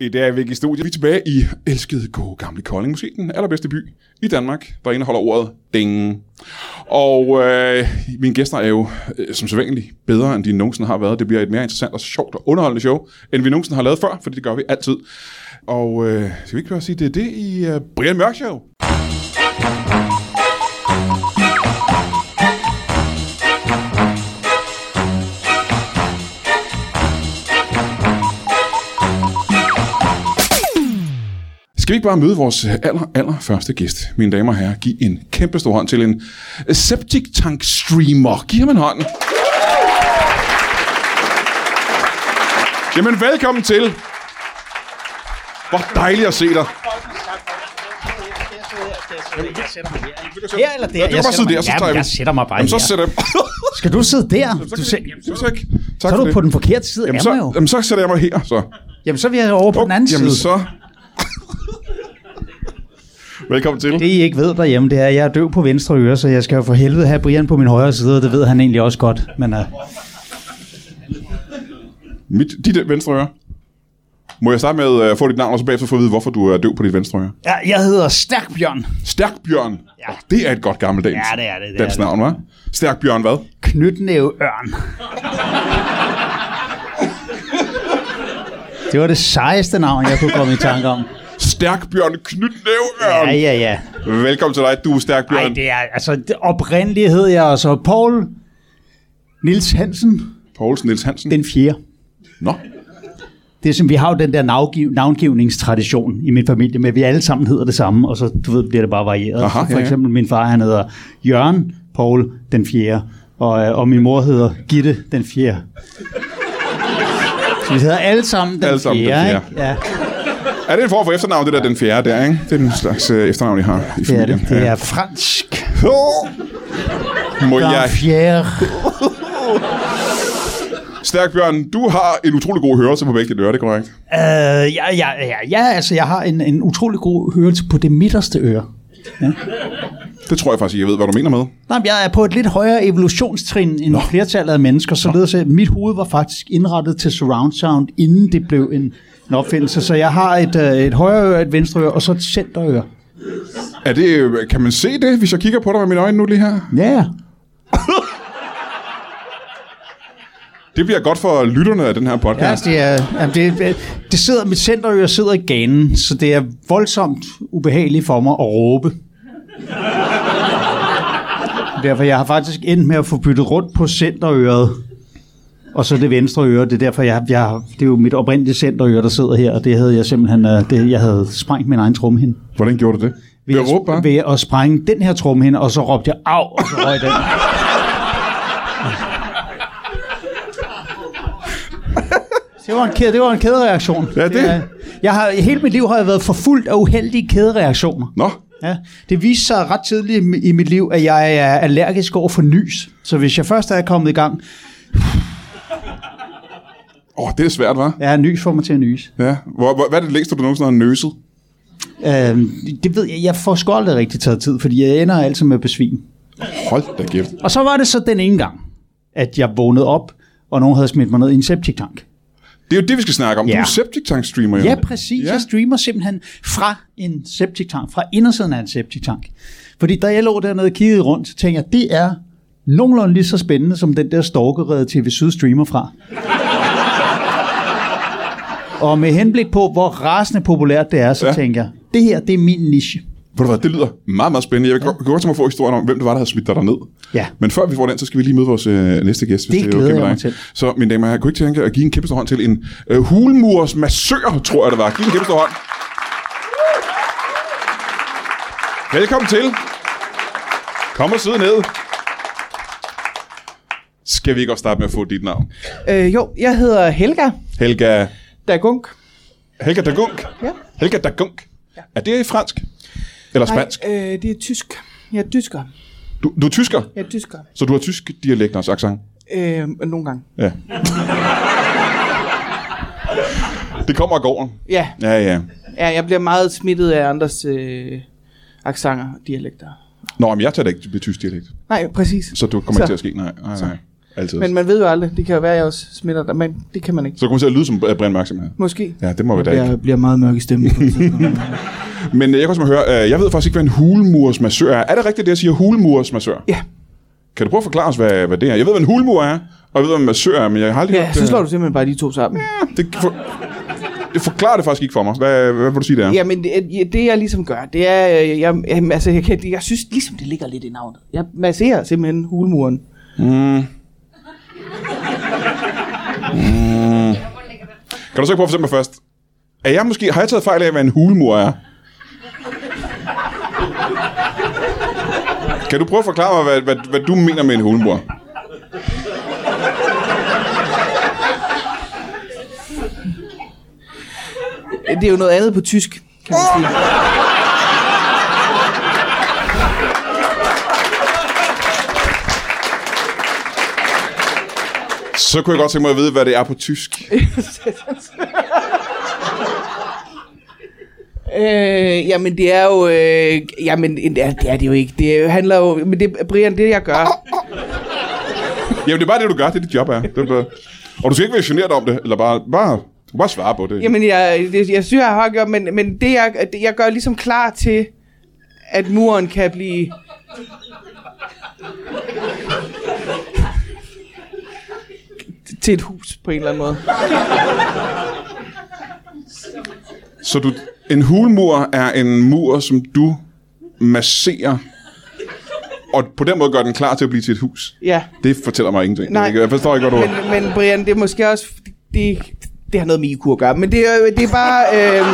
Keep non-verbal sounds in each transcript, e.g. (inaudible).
I dag er vi ikke i studiet. Vi er tilbage i elskede, gode, gamle Kolding. Måske den allerbedste by i Danmark, der indeholder ordet ding. Og øh, mine gæster er jo, øh, som sædvanligt, bedre end de nogensinde har været. Det bliver et mere interessant og sjovt og underholdende show, end vi nogensinde har lavet før, for det gør vi altid. Og øh, skal vi ikke bare sige, det er det i øh, Brian Mørk Show? Skal vi ikke bare møde vores aller, aller første gæst, mine damer og herrer? Giv en kæmpe stor hånd til en septic tank streamer. Giv ham en hånd. Jamen, velkommen til. Hvor dejligt at se dig. Her eller der? Du kan bare sidde der, så tager jeg, vi. jeg sætter mig bare Jamen, så her. sætter jeg... (laughs) Skal du sidde der? Du sæt... Jamen, så ikke. Tak Så er for du det. på den forkerte side Jamen, af så, mig jo. jamen, så sætter jeg mig her, så. Jamen, så er vi over på den anden Jamen, side. så... (laughs) Velkommen til. Det I ikke ved derhjemme, det er, at jeg er døv på venstre øre, så jeg skal jo for helvede have Brian på min højre side, og det ved han egentlig også godt. Men uh, Mit, dit venstre øre. Må jeg starte med øh, at få dit navn, og så bagefter få at vide, hvorfor du er døv på dit venstre øre? ja, jeg hedder Stærk Bjørn Stærk Bjørn. Ja. Ja. Det er et godt gammeldags Ja, det er det, det er dansk det. navn, hva'? Stærk Bjørn hvad? Knytnæve Ørn. Det var det sejeste navn, jeg kunne komme i tanke om. Stærk Bjørn Knytnævørn. Ja, ja, ja. Velkommen til dig, du er Stærk Bjørn. Nej, det er altså det oprindelige hed jeg altså Paul Nils Hansen Poulsen Niels Hansen. den fjerde. Nå. Det er som, vi har jo den der navgiv, navngivningstradition i min familie, med at vi alle sammen hedder det samme, og så du ved, bliver det bare varieret. Aha, så for ja, ja. eksempel min far, han hedder Jørgen Paul den fjerde, og, øh, og min mor hedder Gitte den fjerde. Så vi hedder alle sammen den Alle sammen fjerde. den fjerde. Ikke? Ja, Er det en form for efternavn, det der den fjerde der, ikke? Det er den slags øh, efternavn, I har i det er familien. det. Det er fransk. Må jeg... Den fjerde. Stærk Bjørn, du har en utrolig god hørelse på begge dine ører, det er korrekt. Øh, ja, ja, ja, ja, altså jeg har en, en utrolig god hørelse på det midterste øre. Det tror jeg faktisk, jeg ved, hvad du mener med. Nej, men jeg er på et lidt højere evolutionstrin end Nå. flertallet af mennesker, således at mit hoved var faktisk indrettet til surround sound, inden det blev en, en opfindelse. Så jeg har et, øh, et højre øre, et venstre øre og så et centerøre. Er det, øh, kan man se det, hvis jeg kigger på dig med mine øjne nu lige her? Ja, ja. Det bliver godt for lytterne af den her Ja, podcast. det, er, jamen, det, øh, det sidder, mit centerøre sidder i ganen, så det er voldsomt ubehageligt for mig at råbe. Derfor jeg har faktisk endt med at få byttet rundt på centerøret, og så det venstre øre. Det er derfor, jeg, jeg, det er jo mit oprindelige centerøre, der sidder her, og det havde jeg simpelthen, øh, det, jeg havde sprængt min egen trumhinde. Hvordan gjorde du det? Ved at råbe bare? ved at sprænge den her trumhinde, og så råbte jeg, af, og så røg den. (laughs) Det var, en kæde, det var en kædereaktion. Ja, det- er- Jeg har, hele mit liv har jeg været forfulgt af uheldige kædereaktioner. Nå, Ja, det viste sig ret tidligt i mi- i mit liv, at jeg er allergisk over for nys. Så hvis jeg først er kommet i gang, åh, det er svært, hva'? er nys for mig til at nys. Ja. Hvor, hvor, hvad er det længste, du nogensinde har nøset? Øhm, det ved jeg, jeg får sgu aldrig rigtig taget tid, fordi jeg ender altid med besvim. Hold da kæft. Og så var det så den ene gang, at jeg vågnede op, og nogen havde smidt mig ned i en septic tank. Det er jo det, vi skal snakke om. Ja. Du Ja. er septic tank streamer, jo. Ja, præcis. Ja. Ja. Jeg streamer simpelthen fra en septic tank, fra indersiden af en septic tank. Fordi da jeg lå dernede og kiggede rundt, så tænkte jeg, det er nogenlunde lige så spændende, som den der storkerede TV Syd streamer fra. og med henblik på, hvor rasende populært det er, så Ja. ja. tænker jeg, det her, det er min niche. Ved du hvad, det lyder meget, meget spændende. Jeg kan godt- kunne godt tænke mig at få historien om, hvem det var, der havde smidt dig derned. Ja. Men før vi får den, så skal vi lige møde vores øh, næste gæst, hvis det, Det er okay glæder med jeg dig. mig til. Så, mine damer og herrer, kunne I ikke tænke at give en kæmpe stor hånd til en øh, hulmurs massør, tror jeg, det var. Giv en kæmpe stor hånd. Velkommen til. Kom og sidde ned. Skal vi ikke også starte med at få dit navn? Øh, jo, jeg hedder Helga Helga... Dagunk. Helga Dagunk? Ja. Helga Dagunk? Ja. Er det fransk? Eller spansk? Nej, øh, det er tysk. Jeg er tysker. Du, du er tysker, Jeg er tysker. så du har tysk dialekt og accent. Øh, nogle gange. Ja. det kommer og går. Ja, Ja, ja. ja, jeg bliver meget smittet af andres øh, aksanger og dialekter. Nå, men jeg tager det ikke med tysk dialekt, Nej, præcis. så du kommer ikke Så. til at ske. Nej, nej, nej. Altid. Men man ved jo aldrig. Det kan jo være, at jeg også smitter dig, men det kan man ikke. Så kommer det til at lyde som øh, Brian Mærksom her. Måske. Ja, det må vi da ikke. Jeg bliver meget mørk i stemmen. på et tidspunkt. Men øh, jeg kan også høre, øh, jeg ved faktisk ikke, hvad en hulmursmassør er. Er det rigtigt, det jeg siger hulmursmassør? (laughs) Ja. Kan du prøve at forklare os, hvad, hvad det er? Jeg ved, hvad en hulmur er, og jeg ved, hvad en massør er, men jeg har aldrig Ja, hørt så det. slår du simpelthen bare de to sammen. Det, for, det forklarer det faktisk ikke for mig. Hvad, hvad vil du sige, det er? Ja, men det, det, jeg ligesom gør, det er, øh, jeg, jamen, altså, jeg, kan, jeg synes ligesom, det ligger lidt i navnet. Jeg masserer simpelthen hulmuren. Mm. Mm. Kan du så ikke prøve at fortælle mig først? Er jeg måske, har jeg taget fejl af, hvad en hulmur er? Kan du prøve at forklare mig, hvad, hvad, hvad du mener med en hulmur? Det er jo noget andet på tysk, kan man sige. Så kunne jeg godt tænke mig at vide, hvad det er på tysk. Øh, jamen det er jo, øh, jamen en- ja, det er det jo ikke. Det handler jo, men det, Brian, det jeg gør, Jamen, det er bare det, du gør. Det er dit job, er. Det er bare... Og du skal ikke være generet om det, eller bare, bare, du kan bare svare på det. jamen jeg, det, jeg synes, jeg har gjort, men, men det jeg, det jeg gør ligesom klar til, at muren kan blive, til et hus på en eller anden måde. Så du, en hulmur er en mur, som du masserer, og på den måde gør den klar til at blive til et hus. Ja, Det fortæller mig ingenting. Nej. Jeg forstår ikke, hvad du... men, men Brian, det er måske også, det, det har noget med IQ at gøre, men det, er jo- det er bare, øh,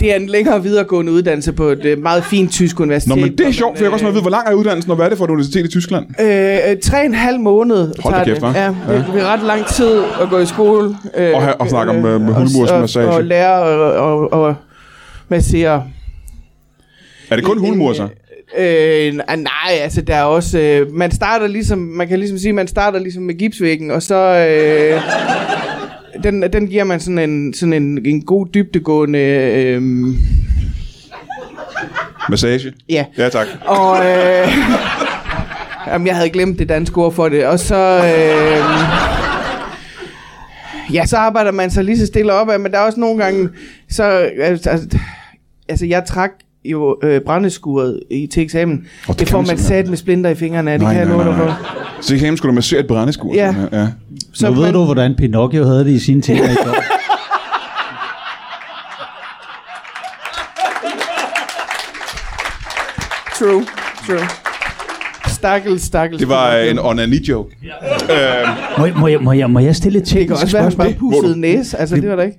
det er en længere videregående uddannelse på et øh, meget fint tysk Nå, universitet. men det er hvor sjovt, man, for jeg kan også øh, med at vide, hvor lang er uddannelsen, og hvad er det for et universitet i Tyskland? Øh, øh, tre og en halv måned Hold da tager kæft, hva'? det. Ja, det, det er ret lang tid at gå i skole. Øh, Og ha- og snakke om, øh, med og- hulmursmassage. Og, og lære og, og, og massere. Er det kun hulmur, så? Øh, ah, nej, altså der er også... Øh, man starter ligesom... Man kan ligesom sige, man starter ligesom med gipsvæggen, og så... Øh, den, den giver man sådan en, sådan en, en god dybtegående... Øh, Massage? ja. Ja, tak. Og... Øh, (laughs) jamen, jeg havde glemt det danske ord for det. Og så... Øh, ja, så arbejder man sig lige så stille op af, men der er også nogle gange... Så, altså, altså jeg trak jo øh, brændeskuret i, til eksamen. kan Oh, det får man man simpelthen. sat med splinter i fingrene af, det Nej, kan jeg nej, love dig nej, for. Så i eksamen skulle du massere et brændeskur? Ja. sådan her. ja. Så nu ved man- du, hvordan Pinocchio havde det i sine ting. True, true. Stakkel, stakkel. Det var øh, en onani-joke. må, jeg, må, jeg, må, jeg, må jeg stille et Det kan teknisk også være, han spørgsmål? bare pussede Hvor- næse. Altså, det var der ikke.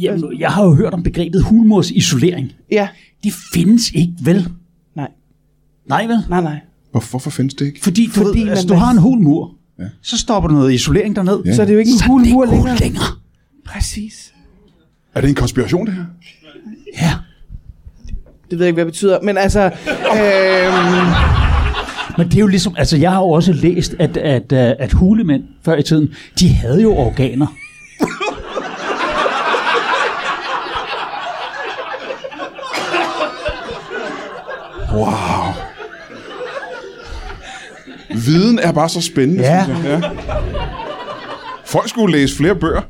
Jamen, jeg har jo hørt om begrebet hulmors isolering. Ja. Det findes ikke, vel? Nej, Nej, vel? nej, nej. Hvor, hvorfor findes det ikke? Fordi, du, Fordi Fordi ved, altså, man- du har en hul mur, Ja. ja. så stopper du noget isolering derned. Ja. Ja. Så er det jo ikke en Så er hul det mur ikke længere. hul længere. Præcis. Er det en konspiration, det her? Ja. Det ved jeg ikke, hvad det betyder. Men altså, øhm, Men det er jo ligesom, altså jeg har jo også læst, at, at, at, at hulemænd før i tiden, de havde jo organer. Wow. Viden er bare så spændende, Ja. synes jeg. Ja. Folk skulle læse flere bøger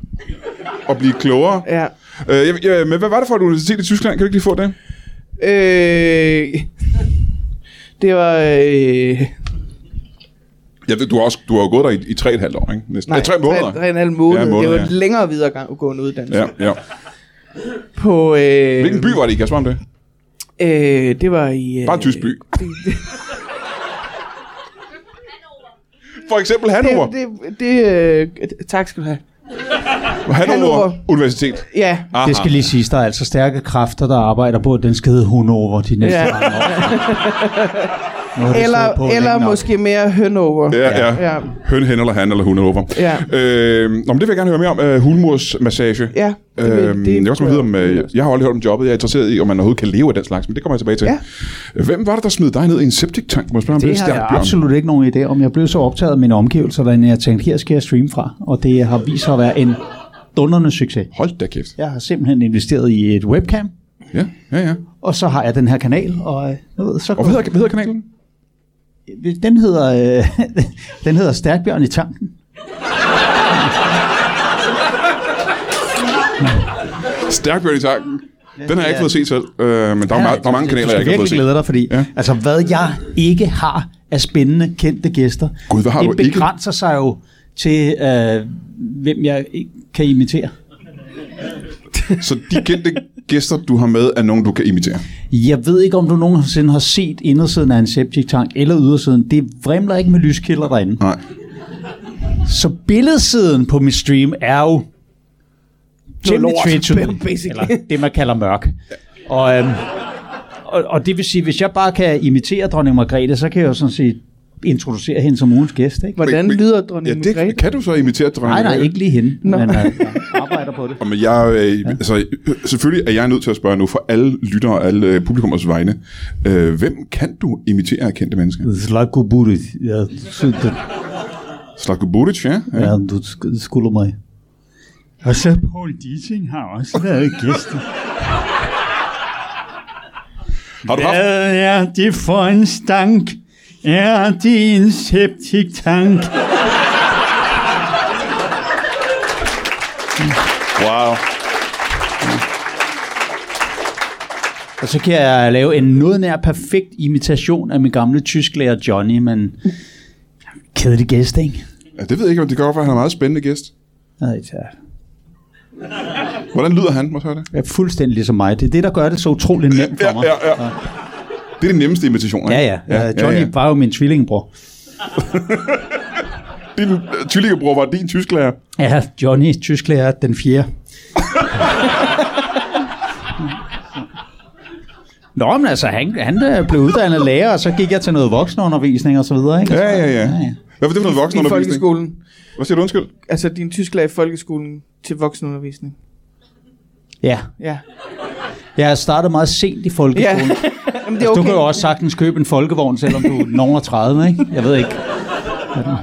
og blive klogere. ja. Øh, jeg, jeg, men hvad var det for et universitet i Tyskland? Kan du ikke lige få det? Øh, det var... Øh, Jeg ved, du har, også, du har jo gået der i, i tre og et halvt år, ikke? Næsten. Nej, tre måneder. Tre, tre og en halv måned. Ja, Ja, en måned måned, det var ja. ja. længere videregående uddannelse. Ja, Ja. ja. På, øh, Hvilken by var det i? Kan jeg spørge om det? Øh, det var i... Øh, Bare en tysk by. For eksempel (laughs) Hannover. Det, det, det øh, tak skal du have. Hannover Hannover. Universitet. Ja, Aha. Det skal lige siges, der er altså stærke kræfter, der arbejder på, at den skal hedde Hunover de næste Ja. ja. mange år. Nu har det stået på eller, eller længe nok. måske mere hønover. Ja, ja. Ja. ja. Høn, hen eller han eller hun over. Ja. Øh, nå, men det vil jeg gerne høre mere om. Øh, hulmursmassage. Ja, det vil- Øhm, det jeg, kan også vide om, kunne jeg- øh, jeg har aldrig hørt om jobbet. Jeg er interesseret i, om man overhovedet kan leve af den slags, men det kommer jeg tilbage til. Hvem var det, der smed dig ned i en septic tank? Må jeg spørge om Det er har stærkt, jeg Bjørn? absolut ikke nogen idé om. Jeg blev så optaget af mine omgivelser, da jeg tænkte, her skal jeg streame fra. Og det har vist sig at være en dundrende succes. Hold da kæft. Jeg har simpelthen investeret i et webcam, Ja, ja, ja. og så har jeg den her kanal, og øh, jeg ved, så Og hvad hedder, hvad hedder kanalen? Den hedder, øh, (laughs) den hedder Stærkbjørn i tanken. Stærk Bjørn i tanken. Den har jeg det er- ikke fået set selv, øh, men der er, ja, der er mange kanaler, jeg jeg ikke har fået virkelig set. glæde dig, fordi Ja. ja. altså, hvad jeg ikke har af spændende kendte gæster, Gud, hvad har det du ikke? begrænser sig jo til, øh, hvem jeg ikke kan imitere. Så de kendte gæster, du har med, er nogen, du kan imitere. Jeg ved ikke, om du nogensinde har set indersiden af en septic tank eller ydersiden. Det vrimler ikke med lyskilder derinde. Nej. Så billedsiden på min stream er jo temmelig lort, (laughs) traditionel, basically. eller det man kalder mørk. Og, øhm, og, og det vil sige, hvis jeg bare kan imitere dronning Margrethe, så kan jeg jo sådan set introducere hende som ugens gæst. Ikke? Hvordan Men- men- lyder dronning ja, det, Margrethe? Kan du så imitere dronning Nej, nej, Margrethe? ikke lige hende, Nå. Nå. men øh, jeg arbejder på det. Og Men jeg, øh, ja. altså, øh, selvfølgelig er jeg nødt til at spørge nu for alle lyttere og alle øh, publikummers vegne. Øh, hvem kan du imitere af kendte mennesker? Slavko Buric, jeg synes, det Slavko Buric, ja? ja. du skulle mig. Og så Paul Dissing har også været gæst. Har du haft, Hvad er det for en stank? Er det en septic tank? wow. Og så kan jeg lave en noget nær perfekt imitation af min gamle tysklærer Johnny, men kedelig gæst, ikke? Ja, det ved jeg ikke, om det gør, for han er en meget spændende gæst. Nej, tak. Hvordan lyder han? Må jeg høre det? Jeg er fuldstændig ligesom mig. Det er det, der gør det så utrolig nemt for mig. Ja, ja, ja. Det er den nemmeste imitation, ikke? Ja, ja. ja Johnny ja. var jo min tvillingebror. Din øh, tvillingebror var din tysklærer. Ja, Johnny, tysklærer, den fjerde. Nå, men altså, han, han øh, blev uddannet lærer, og så gik jeg til noget voksenundervisning og så videre, ikke? Ja, ja, ja. Hvad var det for noget I voksenundervisning? folkeskolen. Hvad siger du undskyld? Altså din tysklærer i folkeskolen til voksenundervisning. Ja, Ja. jeg startede meget sent i Ja. folkeskolen. Ja. (laughs) Jamen, Altså, okay. det er Du okay. kan jo også sagtens købe en folkevogn, selvom du er nogen over 30, ikke? Jeg ved ikke. Hvad er det?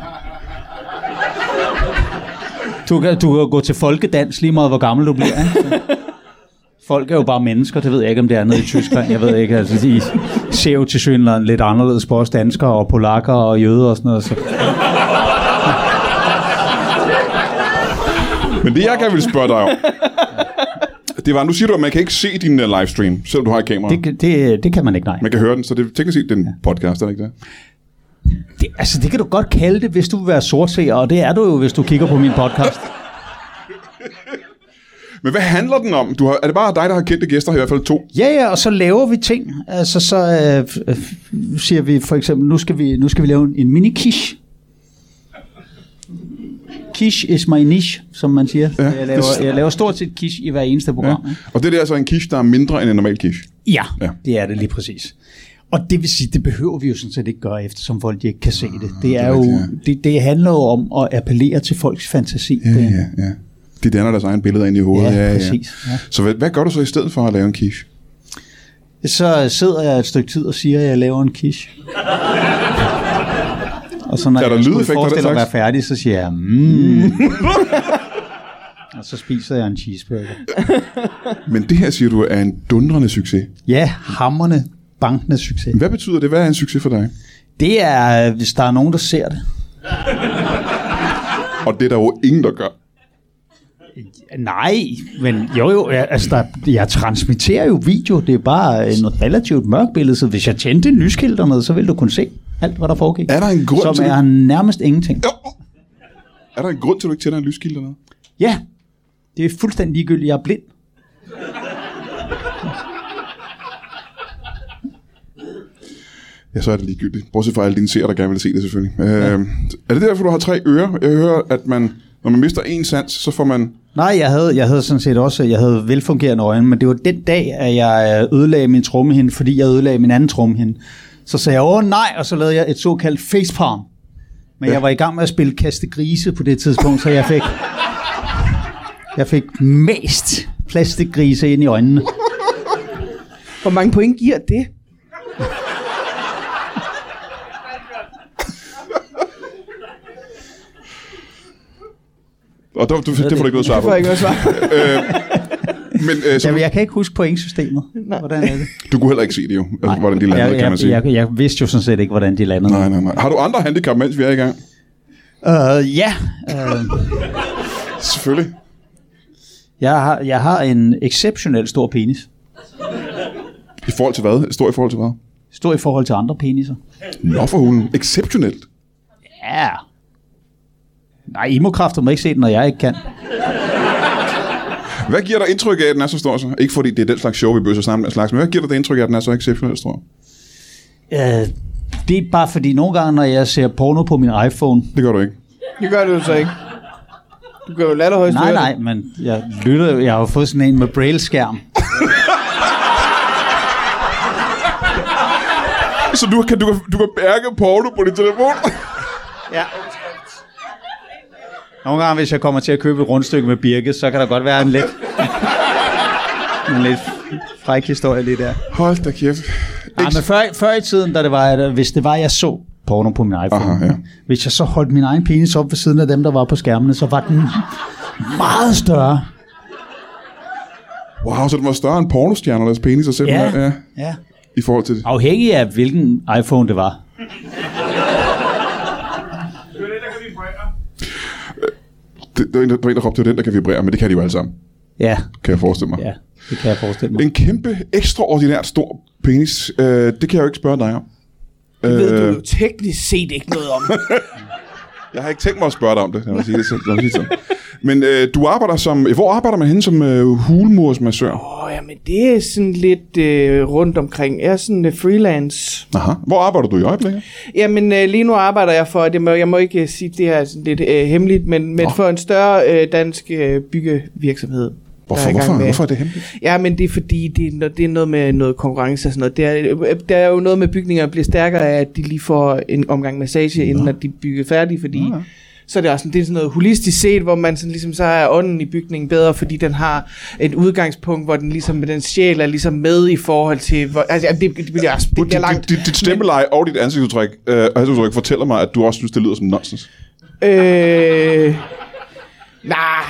Du kan, du kan jo gå til folkedans lige meget, hvor gammel du bliver. Ikke? Så- Folk er jo bare mennesker, det ved jeg ikke, om det er nede i Tyskland. Jeg ved ikke, altså de ser jo til synligheden lidt anderledes på os danskere og polakker og jøder og sådan noget. Så. Men det, jeg gerne vil spørge dig om, det var, nu siger du, at man kan ikke se din uh, livestream, selvom du har et kamera. Det, kan- det, det kan man ikke, nej. Man kan høre den, så det er teknisk set den podcast, er det ikke det? Det, altså, det kan du godt kalde det, hvis du vil være sortseer, og det er du jo, hvis du kigger på min podcast. Men hvad handler den om? Du har, er det bare dig, der har kendte gæster, i hvert fald to? Ja, ja, og så laver vi ting. Altså, så øh, f- øh, f- siger vi for eksempel, nu skal vi, nu skal vi lave en, en mini-quiche. Quiche is my niche, som man siger. Ja, jeg, laver, jeg laver stort set quiche i hver eneste program. Ja. Og det der er altså en quiche, der er mindre end en normal quiche. Ja, Ja. ja, det er det lige præcis. Og det vil sige, det behøver vi jo sådan set ikke gøre, eftersom folk ikke kan se det. Ah, Det, er jo, rigtigt, det, det handler jo om at appellere til folks fantasi. Ja, det, ja, ja. De danner deres egen billeder ind i hovedet. Ja, præcis, ja. Så hvad, hvad gør du så i stedet for at lave en quiche? Så sidder jeg et stykke tid og siger, at jeg laver en quiche. og så når Er der jeg skulle lydeffekter af den forestille mig at være slags? færdig, så siger jeg, mm. (laughs) og så spiser jeg en cheeseburger. Men det her, siger du, er en dundrende succes. Ja, hammerne, bankende succes. Hvad betyder det? Hvad er en succes for dig? Det er, hvis der er nogen, der ser det. Og det er der jo ingen, der gør. Nej, men jo jo, jeg, altså der, jeg transmitterer jo video, det er bare en relativt mørk billede, så hvis jeg tændte en lyskilt dernede, så ville du kunne se alt, hvad der foregik. Er der en grund Som til det? er nærmest ingenting. Jo. Er der en grund til, at du ikke tænder en lyskilde eller noget? Ja, det er fuldstændig ligegyldigt, jeg er blind. Ja, så er det ligegyldigt. Bortset fra alle dine seere, der gerne vil se det selvfølgelig. Ja. Øh, er det derfor, du har tre ører? Jeg hører, at man, når man mister en sans, så får man... Nej, jeg havde, jeg havde sådan set også, jeg havde velfungerende øjne, men det var den dag, at jeg øh, ødelagde min trommehinde, fordi jeg ødelagde min anden trommehinde. Så sagde jeg, åh nej, og så lavede jeg et såkaldt facepalm. Men ja. jeg var i gang med at spille kaste grise på det tidspunkt, så jeg fik, jeg fik mest plastikgrise ind i øjnene. Hvor mange point giver det? Og der, du, det får du ikke noget svar Det på. får jeg ikke noget svar. Øh, Men øh, så, Jamen, jeg kan ikke huske pointsystemet. (laughs) Hvordan er det? du kunne heller ikke se det jo, altså, hvordan de landede, jeg, kan man sige. Jeg, jeg, jeg vidste jo sådan set ikke, hvordan de landede. Nej, nej, nej. Har du andre handicap, mens vi er i gang? Øh, ja, øh, Selvfølgelig. jeg, har, jeg har en exceptionel stor penis. I forhold til hvad? Stor i forhold til hvad? Stor i forhold til andre peniser. Nå for hulen. Exceptionelt. Ja. Nej, I må kræfter må ikke se den, når jeg ikke kan. Hvad giver dig indtryk af, at den er så stor så? Ikke fordi det er den slags show, vi bøser sammen med den slags, men hvad giver dig det indtryk af, at den er så exceptionelt stor? Øh, det er bare fordi, nogle gange, når jeg ser porno på min iPhone, Det gør du ikke. Det gør du jo så ikke. Du gør jo latterhøjst Nej, høre det. nej, men jeg lytter, jeg har jo fået sådan en med braille-skærm. Så du kan, du kan, du kan mærke porno på din telefon? Ja. Nogle gange, hvis jeg kommer til at købe et rundstykke med birke, så kan der godt være en lidt, en lidt fræk historie lige der. Hold da kæft. Nej, men før, før i tiden, da det var, at, øh, hvis det var, at jeg så porno på min iPhone, Aha, ja. hvis jeg så holdt min egen penis op ved siden af dem, der var på skærmene, så var den meget større. Wow, så den var større end pornostjernernes penis og Ja, simpelthen, ja. ja. ja. I forhold til det. Afhængig af, hvilken iPhone det var. det der, var en, der, der var en, der råbte, det var den, der kan vibrere, men det kan de jo alle sammen, Ja, kan jeg forestille mig. ja, det kan jeg forestille mig. En kæmpe, ekstraordinært stor penis, øh, det kan jeg jo ikke spørge dig om. Det ved du jo Øh, teknisk set ikke noget om. jeg har ikke tænkt mig at spørge dig om det, lad mig sige det, selv- lad mig sige det sådan. Men øh, du arbejder som, hvor arbejder man henne som øh, hulmursmassør? (laughs) Åh, oh, jamen det er sådan lidt øh, rundt omkring. Jeg er sådan øh, freelance. Aha. Hvor arbejder du i øjeblikket? Jamen øh, lige nu arbejder jeg for, det må, jeg må ikke øh, sige, det her er sådan lidt øh, hemmeligt, men, men for en større øh, dansk øh, byggevirksomhed. der er Hvorfor, i gang hvorfor, med- hvorfor er det hemmeligt? Ja, men det er fordi, det er, no- det er noget med noget konkurrence og sådan noget. Det er, øh, der er jo noget med bygninger, der bliver stærkere af, at de lige får en omgang massage, inden at de bygger færdige, fordi... Nå, ja. Så er det også sådan, det er sådan noget holistisk set, hvor man sådan ligesom så er ånden i bygningen bedre, fordi den har et udgangspunkt, hvor den ligesom, den sjæl er ligesom med i forhold til, hvor, altså jamen, det, det bliver, det Dit, bliver langt. dit, dit, dit stemmeleje og dit ansigtsudtryk, øh, ansigtsudtryk fortæller mig, at du også synes, det lyder som nonsens. Øh, nej,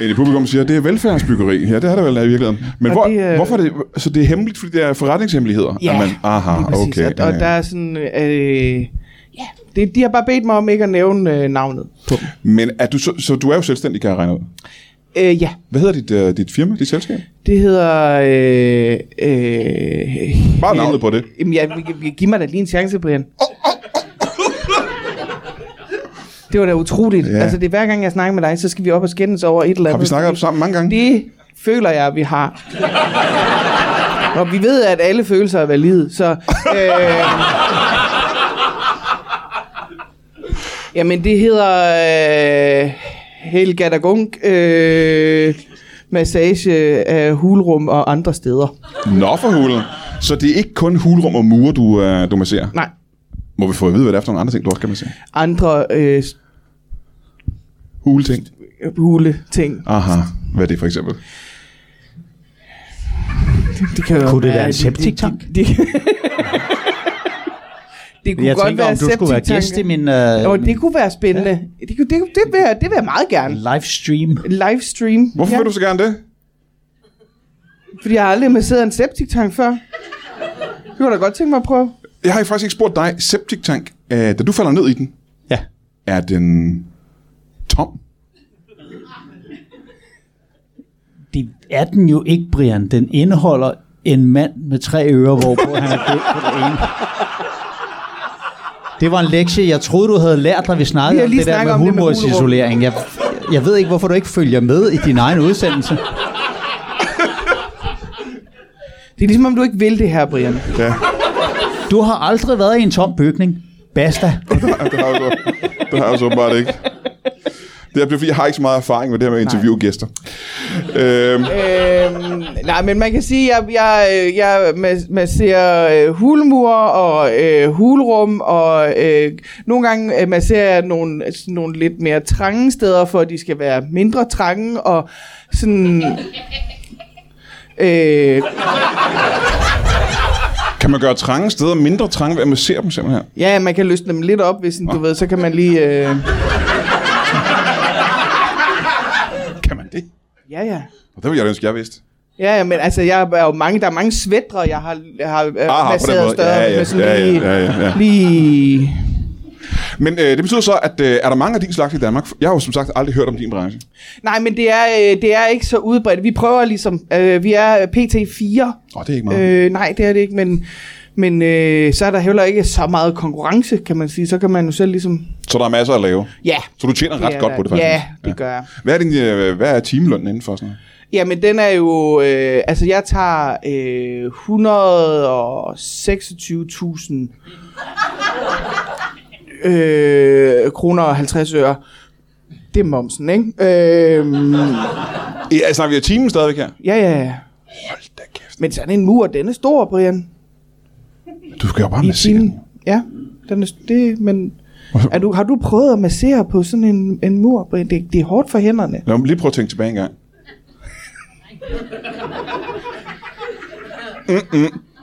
En i publikum siger, at det er velfærdsbyggeri. Ja, det er det vel i virkeligheden. Men Og hvor, det det, er- øh... hvorfor er det... Så det er hemmeligt, fordi det er forretningshemmeligheder? Ja, at man, aha, lige præcis. okay. og, og ja, der ja. er sådan, øh, ja, det, de har bare bedt mig om ikke at nævne øh, navnet på dem. Men er du så, så du er jo selvstændig, kan jeg regne ud. Øh, ja, Hvad hedder dit, uh, dit firma, dit selskab? det hedder, øh, øh, Bare navnet på det. jamen, jeg, jeg, giv mig da lige en chance, Brian. Det var da utroligt. Ja. Ja. Altså, det er hver gang, jeg snakker med dig, så skal vi op og skændes over et eller andet. Har vi snakket om det sammen mange gange? Det føler jeg, vi har. Og vi ved, at alle følelser er valide, så... Øh, jamen, det hedder... Øh, Helga da Gunk, øh, massage af hulrum og andre steder. Nå for hulen. Så det er ikke kun hulrum og mure, du, uh, du masserer? Nej, Må vi få at vide, hvad det er for nogle andre ting, du også kan massere? andre øh, Huleting. hule ting. Aha. Hvad er det for eksempel? Det kan jo Kunne det være en de- septiktank? de- de- Det kunne Jeg godt tænker, være om du skulle være gæst i septiktanke. min øh, Åh, det kunne være spændende. Ja. Det, kunne, det, kunne- det, vil jeg, det vil jeg meget gerne. livestream. Livestream. Hvorfor ja. vil du så gerne det? Fordi jeg har aldrig masseret en septiktank før. Det kunne jeg da godt tænke mig at prøve. Jeg har faktisk ikke spurgt dig. Septic tank, uh, da du falder ned i den, Ja. er den (laughs) tom? Det er den jo ikke, Brian. Den indeholder en mand med tre ører, hvorpå han er død på det ene. Det var en lektie, jeg troede, du havde lært, da vi Vi snakkede har om lige det der snakket med om det med hulmursisolering. Jeg, jeg ved ikke, hvorfor du ikke følger med i din egen udsendelse. Det er ligesom, om du ikke vil det her, Brian. Ja. Du har aldrig været i en tom bygning. Basta. det har jeg så, det har jeg så åbenbart ikke. Det er fordi, jeg har ikke så meget erfaring med det her med at interviewe gæster. Øhm, øhm, nej, men man kan sige, at jeg, jeg, øh, jeg mas- masserer øh, hulmur og øh, hulrum, og øh, nogle gange øh, masserer jeg nogle, sådan nogle lidt mere trange steder, for at de skal være mindre trange, og sådan... Øh, kan man gøre trange steder mindre trange ved at massere dem simpelthen? ja, man kan løsne dem lidt op, hvis sådan, du ved, så kan man lige... Øh, Ja, ja. Og det ville jeg ønske, jeg vidste. Ja, ja, men altså, jeg er jo mange, der er mange svætre, jeg har, jeg har øh, Aha, Ah, på den placeret måde. større. Ja, ja, med sådan ja, ja, lige, ja, ja, ja. lige... Men øh, det betyder så, at øh, er der mange af din slags i Danmark? Jeg har jo som sagt aldrig hørt om din branche. Nej, men det er, øh, det er ikke så udbredt. Vi prøver ligesom, øh, vi er øh, PT4. Åh, oh, det er ikke meget. Øh, Øh, nej, det er det ikke, men, men øh, så er der heller ikke så meget konkurrence, kan man sige. Så kan man jo selv ligesom... så der er masser at lave. Ja, Så du tjener det ret er godt der. på det, faktisk. Ja, det gør jeg. Hvad er, din, øh, hvad er timelønnen inden for sådan noget? Jamen, den er jo... Øh, altså, jeg tager øh, 126.000 øh, kroner og 50 øre. Det er momsen, ikke? Øh, Ja, altså, vi er timen stadigvæk her. ja, ja, ja. Hold da kæft. Men sådan en mur, den er stor, Brian. Du skal jo bare I massere. timen. Ja, den er, det, men er du, har du prøvet at massere på sådan en, en mur? Brian? Det, det er hårdt for hænderne. Lad mig lige prøve at tænke tilbage en gang.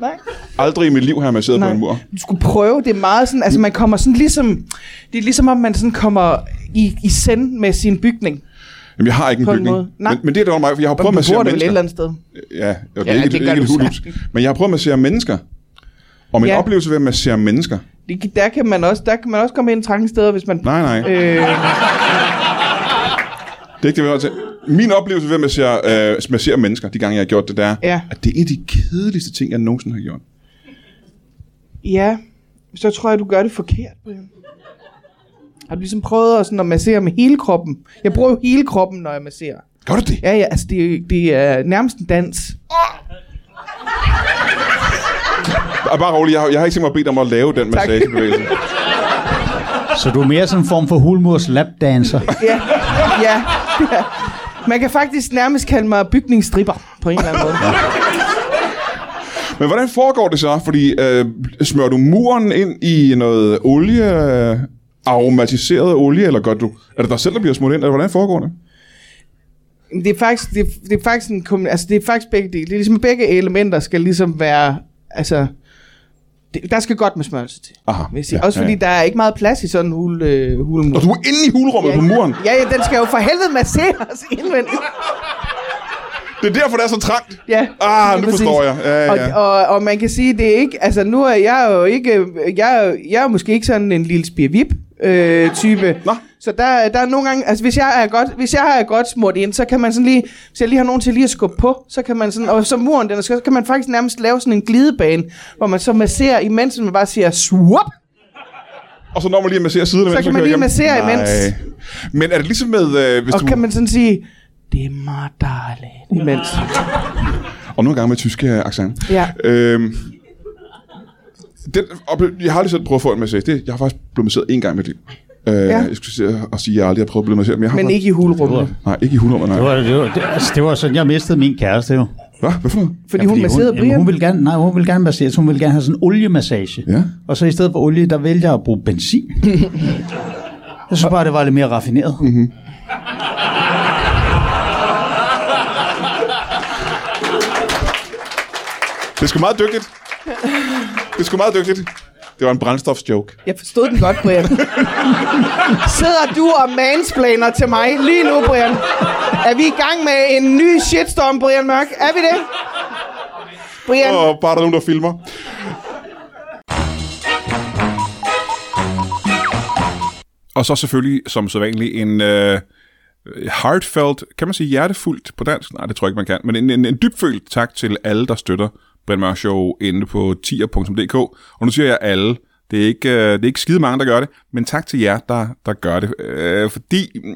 Nej. Aldrig i mit liv har jeg masseret på Nej. en mur. Du skulle prøve, det er meget sådan, altså man kommer sådan ligesom, det er ligesom om man sådan kommer i, i send med sin bygning. Jamen, jeg har ikke en På en bygning. måde. Nej. Men, men det er da mig, for jeg har Og prøvet at du massere bor det vel et mennesker. eller andet sted. Ja, og det er Ja, ikke, det det gør er ikke et du hulhus. Men jeg har prøvet at massere mennesker. Og min Ja. oplevelse ved at massere mennesker. Det, der, kan man også, der kan man også komme ind i trange steder, hvis man... Nej, nej. Øh, Det er ikke det, vi har til. Min oplevelse ved at massere, øh, massere mennesker, de gange jeg har gjort det, der, Ja. at det er en af de kedeligste ting, jeg nogensinde har gjort. ja, så tror jeg, du gør det forkert, Brian. Har du ligesom prøvet at, sådan, at massere med hele kroppen? Jeg bruger jo hele kroppen, når jeg masserer. Gør du det? Ja, ja, altså det, det er nærmest en dans. Ja. Bare rolig, jeg har, jeg har ikke tænkt mig at bede dig om at lave den (laughs) massagebevægelse. Så du er mere sådan en form for hulmurs lapdancer. Ja, ja. (laughs) ja. Man kan faktisk nærmest kalde mig bygningsstripper på en eller anden måde. Men hvordan foregår det så? Fordi øh, smører du muren ind i noget olie, øh, aromatiseret olie, eller gør du, er det dig selv, der bliver smurt ind, eller hvordan foregår det? Men Det er faktisk, det er, det er faktisk en kombina- altså det er faktisk begge dele. Det er ligesom begge elementer skal ligesom være, altså, det, der skal godt med smørelse til. Aha, Vil jeg sige. Også fordi der er ikke meget plads i sådan en hul, øh, hulmur. Og du er inde i hulrummet på muren. Ja, ja, den skal jo for helvede masseres (laughs) indvendigt. Det er derfor, det er så trangt. Ja, Ah, lige nu forstår jeg. Ja, ja, ja. Og, og, og man kan sige, det er ikke, altså nu er jeg jo ikke, jeg, er jo- jeg er måske ikke sådan en lille spirvip øh, type. Nå. Så der, der er nogle gange, altså hvis jeg, er godt, hvis jeg er godt smurt ind, så kan man sådan lige, hvis jeg lige har nogen til lige at skubbe på, så kan man sådan, og så muren den, er skør, så kan man faktisk nærmest lave sådan en glidebane, hvor man så masserer, imens man bare siger, swap, Og så når man lige at massere siden imens. kan man kører lige igennem. massere Nej. imens. Men er det ligesom med, øh, hvis og du... kan man sådan sige, det er mig darling, imens. Og nogle gange med tyske øh, accent. Ja. Øhm, den, ople- jeg har lige selv prøvet at få en massage. Det, jeg har faktisk blevet masseret en gang i mit liv. Øh, ja. Jeg skulle sige, at sige, at jeg aldrig har prøvet at blive masseret. Men, jeg har Men faktisk- ikke i hulrummet, Nej, ikke i hulrummet, nej. Det var, det, var, det, altså, det var sådan, jeg mistede min kæreste jo. Hvad? Hvad for noget? fordi, ja, fordi hun masserede hun, jamen, Brian. hun ville gerne, nej, hun ville gerne massere, så hun ville gerne have sådan en oliemassage. Ja. Og så i stedet for olie, der vælger jeg at bruge (laughs) benzin. jeg synes bare, det var lidt mere raffineret. Mm-hmm. Mhm. Det er sgu meget dygtigt. Det er sgu meget dygtigt. Det var en brændstofsjoke. Jeg forstod den godt, Brian. Sidder du og mansplaner til mig lige nu, Brian? Er vi i gang med en ny shitstorm, Brian Mørk? Er vi det? Brian, Og bare der er nogen, der filmer. Og så selvfølgelig, som sædvanligt, en øh, heartfelt, kan man sige hjertefuldt på dansk? Nej, det tror jeg ikke, man kan. Men en, en, en dybfølt tak til alle, der støtter Brian Mørk Show inde på tier.dk. Og nu siger jeg alle. Det er, ikke, øh, det er ikke skide mange, der gør det, men tak til jer, der, der gør det. Øh, fordi mm,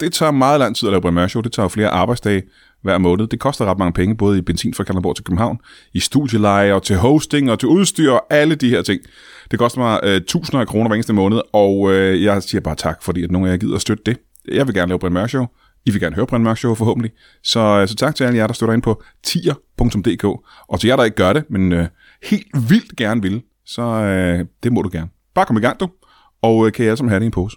det tager meget lang tid at lave Brian Mørk Show. Det tager jo flere arbejdsdage hver måned. Det koster ret mange penge, både i benzin fra Kalundborg til København, i studieleje og til hosting og til udstyr og alle de her ting. Det koster mig øh, tusinder af kroner hver eneste måned, og øh, jeg siger bare tak, fordi at nogle af jer gider at støtte det. Jeg vil gerne lave Brian Mørk Show. I vil gerne høre Brian Mørk Show forhåbentlig. Så, øh, så tak til alle jer, der støtter ind på tier.dk. Og til jer, der ikke gør det, men øh, helt vildt gerne vil, så øh, det må du gerne. Bare kom i gang, du. Og øh, kan I alle sammen have det i en pose.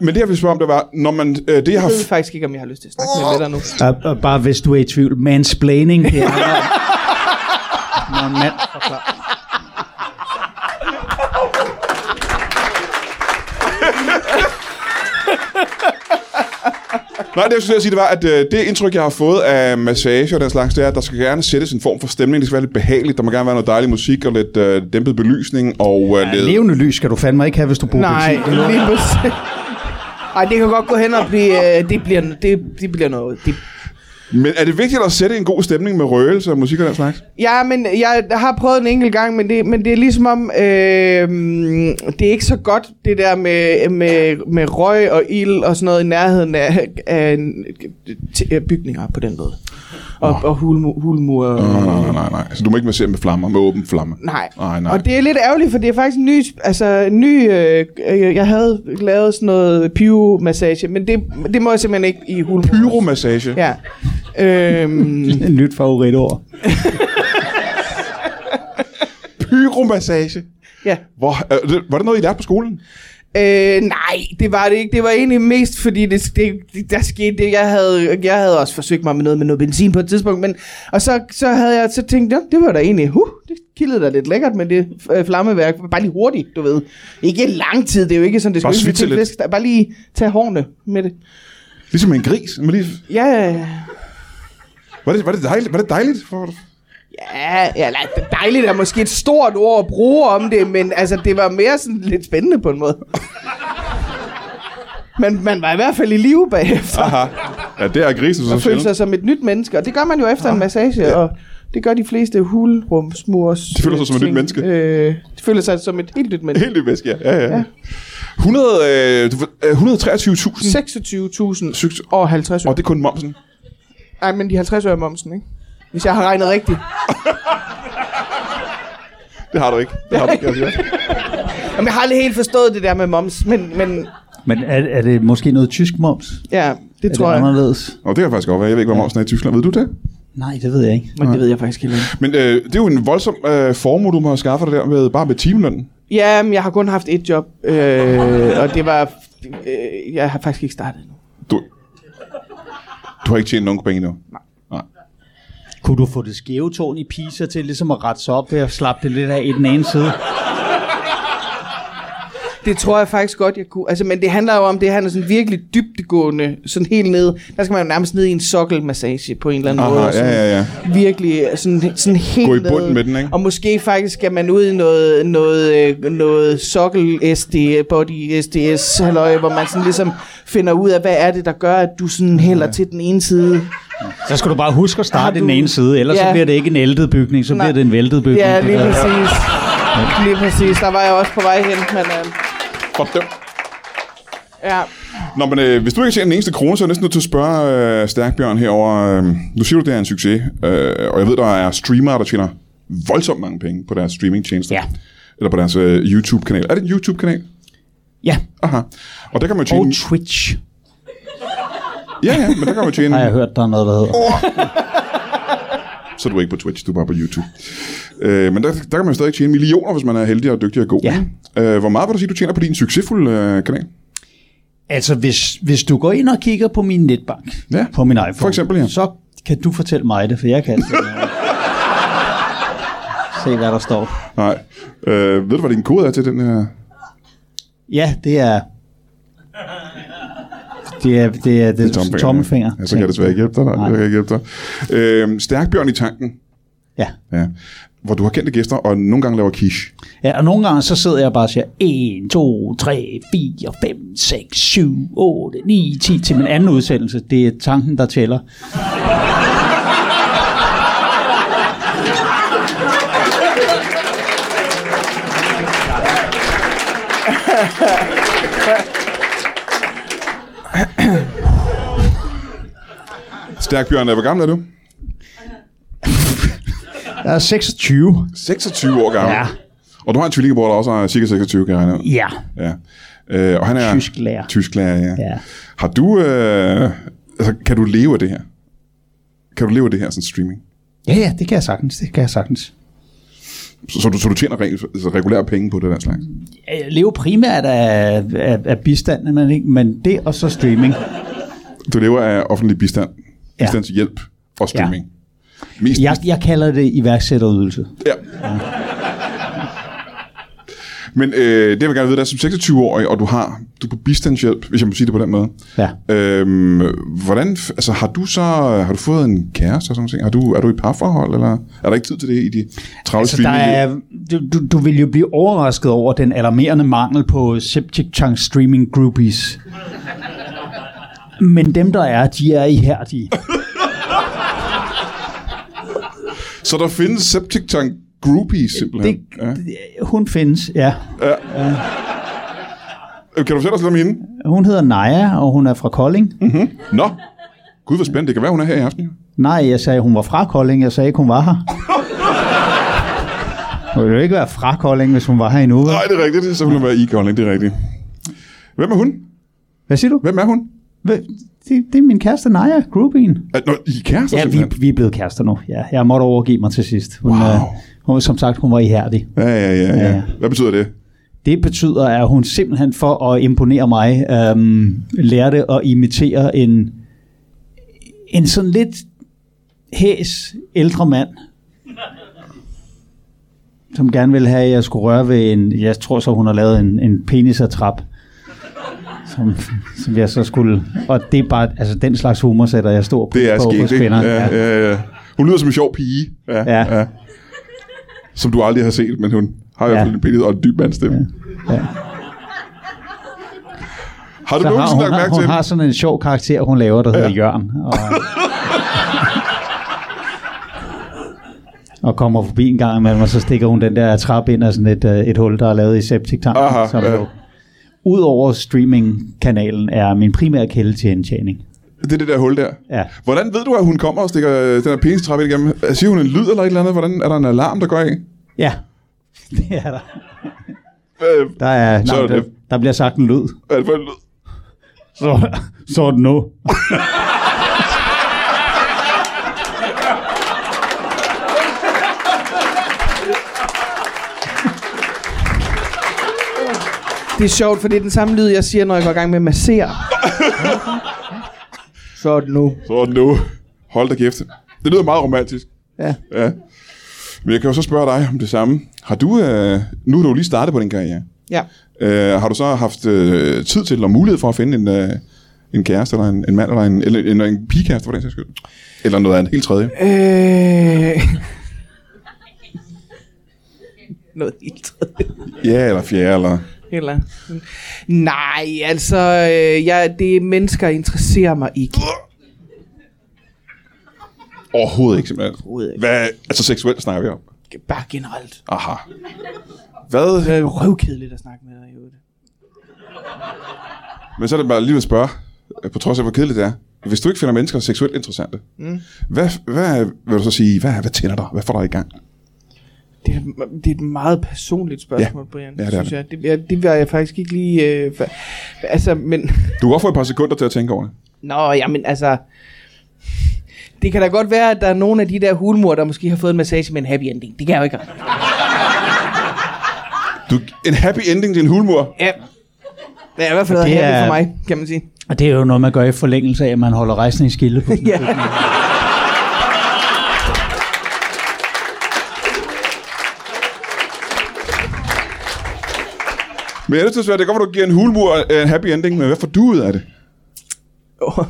Men det, jeg ville spørge om, det var, når man, øh, det, jeg har jeg ved faktisk ikke, om jeg har lyst til at snakke med dig nu. Og, og bare hvis du er i tvivl, mansplaining. (laughs) Det er, når en mand forklarer. Nej, det jeg skulle til at sige, det var, at øh, det indtryk, jeg har fået af massage og den slags, det er, at der skal gerne sættes en form for stemning. Det skal være lidt behageligt. Der må gerne være noget dejlig musik og lidt øh, dæmpet belysning. Og, øh, lidt... Levende lys skal du fandme ikke have, hvis du bruger Nej, benzin. lige præcis. Ej, det kan godt gå hen og blive... Øh, det, bliver, det, det bliver noget... Det, Men er det vigtigt at sætte en god stemning med røgelse og musik og den slags? Ja, men jeg har prøvet en enkelt gang, men det, men det er ligesom om, øh, det er ikke så godt, det der med, med, med røg og ild og sådan noget i nærheden af, af, en- t- af bygninger på den måde. Og, oh. og hulmu, hulmur. Nej, Oh. nej, nej, nej. Så du må ikke massere med flammer, med åben flamme? Nej. Mm. Nej, nej. Og det er lidt ærgerligt, for det er faktisk en ny, altså en ny, øh, øh, jeg havde lavet sådan noget pyromassage, men det, det må jeg simpelthen ikke i hulmur. Pyromassage? Ja. Øhm, (laughs) Et nyt favoritord. Pyromassage? ja. Hvor, øh, det- var det noget, I lærte på skolen? Øh, nej, det var det ikke. Det var egentlig mest, fordi det, det, det, der skete det. Jeg havde, jeg havde også forsøgt mig med noget med noget benzin på et tidspunkt, men, og så, så havde jeg så tænkt, ja, det var da egentlig, huh, det kildede da lidt lækkert med det øh, flammeværk. Bare lige hurtigt, du ved. Ikke lang tid, det er jo ikke sådan, det Bare skulle svitse lidt. fisk. Der- Bare lige tage hårene med det. Ligesom en gris. Men lige, Ja, var, det, var, det dejligt, var det dejligt? For, ja, ja eller dejligt er måske et stort ord at bruge om det, men altså, det var mere sådan lidt spændende på en måde. Men man var i hvert fald i live bagefter. aha. Ja, det er grisen så og føle sjældent. sig som et nyt menneske. Og det gør man jo Ah. efter ja. en massage, ja. og det gør de fleste hulrumsmurs. De føler sig som et nyt ting. menneske. Øh, de føler sig som et helt nyt menneske. Helt ny væske, ja. ja, ja. 100, øh, du ved, øh, 123.000. 26.000 Sygt. og 50 Og øre. det er kun momsen. Nej, men de 50 øre er momsen, ikke? Hvis jeg har regnet rigtigt. Det har du ikke. Det har du ikke. altså, ja. Jamen, jeg har aldrig helt forstået det der med moms, men, men Men er, er det måske noget tysk moms? ja, det er tror det jeg. anderledes? Og det kan faktisk godt være. Jeg ved ikke, hvor momsen er i Tyskland. Ved du det? Nej, det ved jeg ikke. Men det ved jeg faktisk ikke. Men øh, det er jo en voldsom øh, formue, du må have skaffet dig der med, bare med timelønnen. Ja, men jeg har kun haft et job, øh, og det var... Øh, jeg har faktisk ikke startet endnu. Du, du har ikke tjent nogen penge endnu. Nej. Nej. Kunne du få det skæve tårn i Pisa til ligesom at rette sig op ved at slappe det lidt af i den ene side? Det tror jeg faktisk godt, jeg kunne. Altså, men det handler jo om, det handler sådan virkelig dybtegående, sådan helt ned. Der skal man jo nærmest ned i en sokkelmassage på en eller anden Aha, måde. ja, sådan ja, ja. Virkelig øh, sådan, sådan helt Gå i bunden ned. med den, ikke? Og måske faktisk skal man ud i noget, noget, øh, noget sokkel SD, body SDS, halløj, hvor man sådan ligesom finder ud af, hvad er det, der gør, at du sådan hælder ja. til den ene side. Så skal du bare huske at Har starte du- i den ene side, ellers Ja. så bliver det ikke en æltet bygning, så Nej. bliver det en væltet bygning. Ja, lige det der. præcis. Lige præcis. Der var jeg også på vej hen, men øh, Fordømt. ja. Nå, men øh, hvis du ikke tjener den eneste krone, så er jeg næsten nødt til at spørge øh, Stærkbjørn herover. Øh, nu siger du, det er en succes, øh, og jeg ved, der er streamere, der tjener voldsomt mange penge på deres streamingtjenester. Ja. Eller på deres øh, YouTube-kanal. Er det en YouTube-kanal? Ja, Aha. Og der kan man og tjene... Twitch Ja, ja, men der kan man (laughs) tjene... har jeg hørt, der er noget, der hedder. Så er du ikke på Twitch, du er bare på YouTube. Øh, men der, der kan man stadig tjene millioner, hvis man er heldig og dygtig og god. Ja. ikke? Øh, hvor meget vil du sige, du tjener på din succesfulde øh, kanal? Altså, hvis, hvis du går ind og kigger på min netbank, Ja, på min iPhone, for eksempel, ja. så kan du fortælle mig det, for jeg kan ikke. Se, hvad der står. Nej. Øh, ved du, hvad din kode er til den her? Ja, det er... Det er, det er, det er tommelfinger. Ja, så kan jeg desværre ikke hjælpe dig. Nej. Nej. Jeg kan ikke hjælpe dig. Øh, stærk bjørn i tanken. Ja. Ja. Hvor du har kendte gæster, og nogle gange laver quiche. ja, og nogle gange så sidder jeg bare og siger 1, 2, 3, 4, 5, 6, 7, 8, 9, 10 til min anden udsendelse. Det er tanken, der tæller. Stærk bjørn, øh, hvor gammel er du? Jeg er 26. 26 år gammel. Ja. Og du har en tvillingebror, der også er cirka 26, kan jeg regne ud. Ja. Ja. Øh, og han er... Tysklærer. Tysklærer, ja. Ja. Har du... Øh, altså, kan du leve af det her? Kan du leve af det her, sådan streaming? Ja, ja, det kan jeg sagtens. Det kan jeg sagtens. Så, så, du, så du tjener re, altså, regulære penge på det der slags? Jeg lever primært af, af, af bistanden, men, ikke, men det og så streaming. Du lever af offentlig bistand, Ja. bistandshjælp og streaming. Ja. Mest Jeg, jeg kalder det iværksætterydelse. Ja. Men øh, det, jeg vil gerne vide, det er som 26-årig, og du har du er på bistandshjælp, hvis jeg må sige det på den måde. Ja. Øhm, hvordan, f- altså har du så, har du fået en kæreste og sådan noget? Har du, er du i parforhold, eller er der ikke tid til det i de travle Altså, der er, du, du- du vil jo blive overrasket over den alarmerende mangel på septic tank streaming groupies. Men dem, der er, de er ihærdige. Så der findes septic tank groupies, simpelthen. Det, ja. det, hun findes, ja. Øh, Kan du fortælle os lidt om hende? Hun hedder Naja, og hun er fra Kolding. Nå, gud hvor spændende. Det kan være, hun er her i aften. jo. Nej, jeg sagde, hun var fra Kolding. Jeg sagde ikke, hun var (laughs) her. Hun ville jo ikke være fra Kolding, hvis hun var her endnu. vel? Nej, det er rigtigt. Så vil hun være i Kolding, det er rigtigt. Hvem er hun? Hvad siger du? Hvem er hun? Hvad- Det, det er min kæreste Naja, groupien. Er, nå, I er kærester Ja, vi, simpelthen? vi er blevet kærester nu. Ja, jeg måtte overgive mig til sidst. Hun, Wow. øh, hun, som sagt, hun var ihærdig. Ja, ja, ja, ja, Ja. Hvad betyder det? Det betyder, at hun simpelthen for at imponere mig, øhm, lærte at imitere en, en sådan lidt hæs ældre mand, som gerne ville have, at jeg skulle røre ved en, jeg tror så hun har lavet en, en penisattrap, som, som jeg så skulle, og det er bare, altså den slags humor sætter jeg stor Det pris er på hos skægt, ikke? kvinder. Ja, ja, ja. Hun lyder som en sjov pige. Ja, Ja. Som du aldrig har set, men hun har i hvert Ja. fald en billede og en dyb mandstemme. Ja. Har du Så har nogensinde hun, lagt har, mærke hun til har sådan en sjov karakter, hun laver, der hedder ja. Jørgen. (laughs) Og, og kommer forbi en gang imellem, og så stikker hun den der trappe ind af sådan et, øh, et hul, der er lavet i septiktanken. Aha, som ja. jo, Udover streamingkanalen er min primære kilde til indtjening. Det er det der hul der. Ja. Hvordan ved du, at hun kommer og stikker øh, den her penistrap ind igennem? Øh, Siger hun en lyd eller et eller andet? Hvordan er der en alarm, der går af? Ja, (laughs) det er der. Øh, Der, er, Så er nej, det- der, der bliver sagt en lyd. hvad er det for en lyd? Så, så er det nu. Det er sjovt, for det er den samme lyd, jeg siger, når jeg går i gang med at massere. Sådan nu. Så nu. Hold da kæft. Det lyder meget romantisk. Ja. Ja. Men jeg kan jo så spørge dig om det samme. Har du, øh, nu har du jo lige startet på din karriere, ja. øh, har du så haft øh, tid til og mulighed for at finde en, øh, en kæreste, eller en, en mand, eller en, eller, eller en pigekæreste, for den sags skyld? Eller noget andet, helt tredje? Øh... Noget helt tredje. Ja, eller fjerde, eller... Eller... Nej, altså, øh, jeg, det er mennesker, jeg interesserer mig ikke. Overhovedet ikke, simpelthen. Overhovedet ikke. Hvad, altså seksuelt snakker vi om. Bare generelt. Aha. Hvad? Det er røvkedeligt at snakke med dig, i øvrigt. Men så er det bare lige at spørge, øh, på trods af hvor kedeligt det er. Hvis du ikke finder mennesker seksuelt interessante, mm. hvad, hvad vil du så sige, hvad, hvad tænder dig? Hvad får dig i gang? Det er, det er et meget personligt spørgsmål, Ja. ja. Brian, Ja, det er synes jeg. Det, jeg, det var jeg faktisk ikke lige... Øh, for, altså, men... Du kan godt få et par sekunder til at tænke over det. Nå, jamen altså... Det kan da godt være, at der er nogle af de der hulmur, der måske har fået en massage med en happy ending. Det kan jeg jo ikke. Du, en happy ending til en hulmur. Ja. Det er i hvert fald Og det happy er- for mig, kan man sige. Og det er jo noget, man gør i forlængelse af, at man holder rejsen i (laughs) skilde på sådan Ja. (laughs) Men jeg er nødt til at spørge, det kan godt være, du giver en hulmur øh, en happy ending, men hvad får du ud af det? Åh.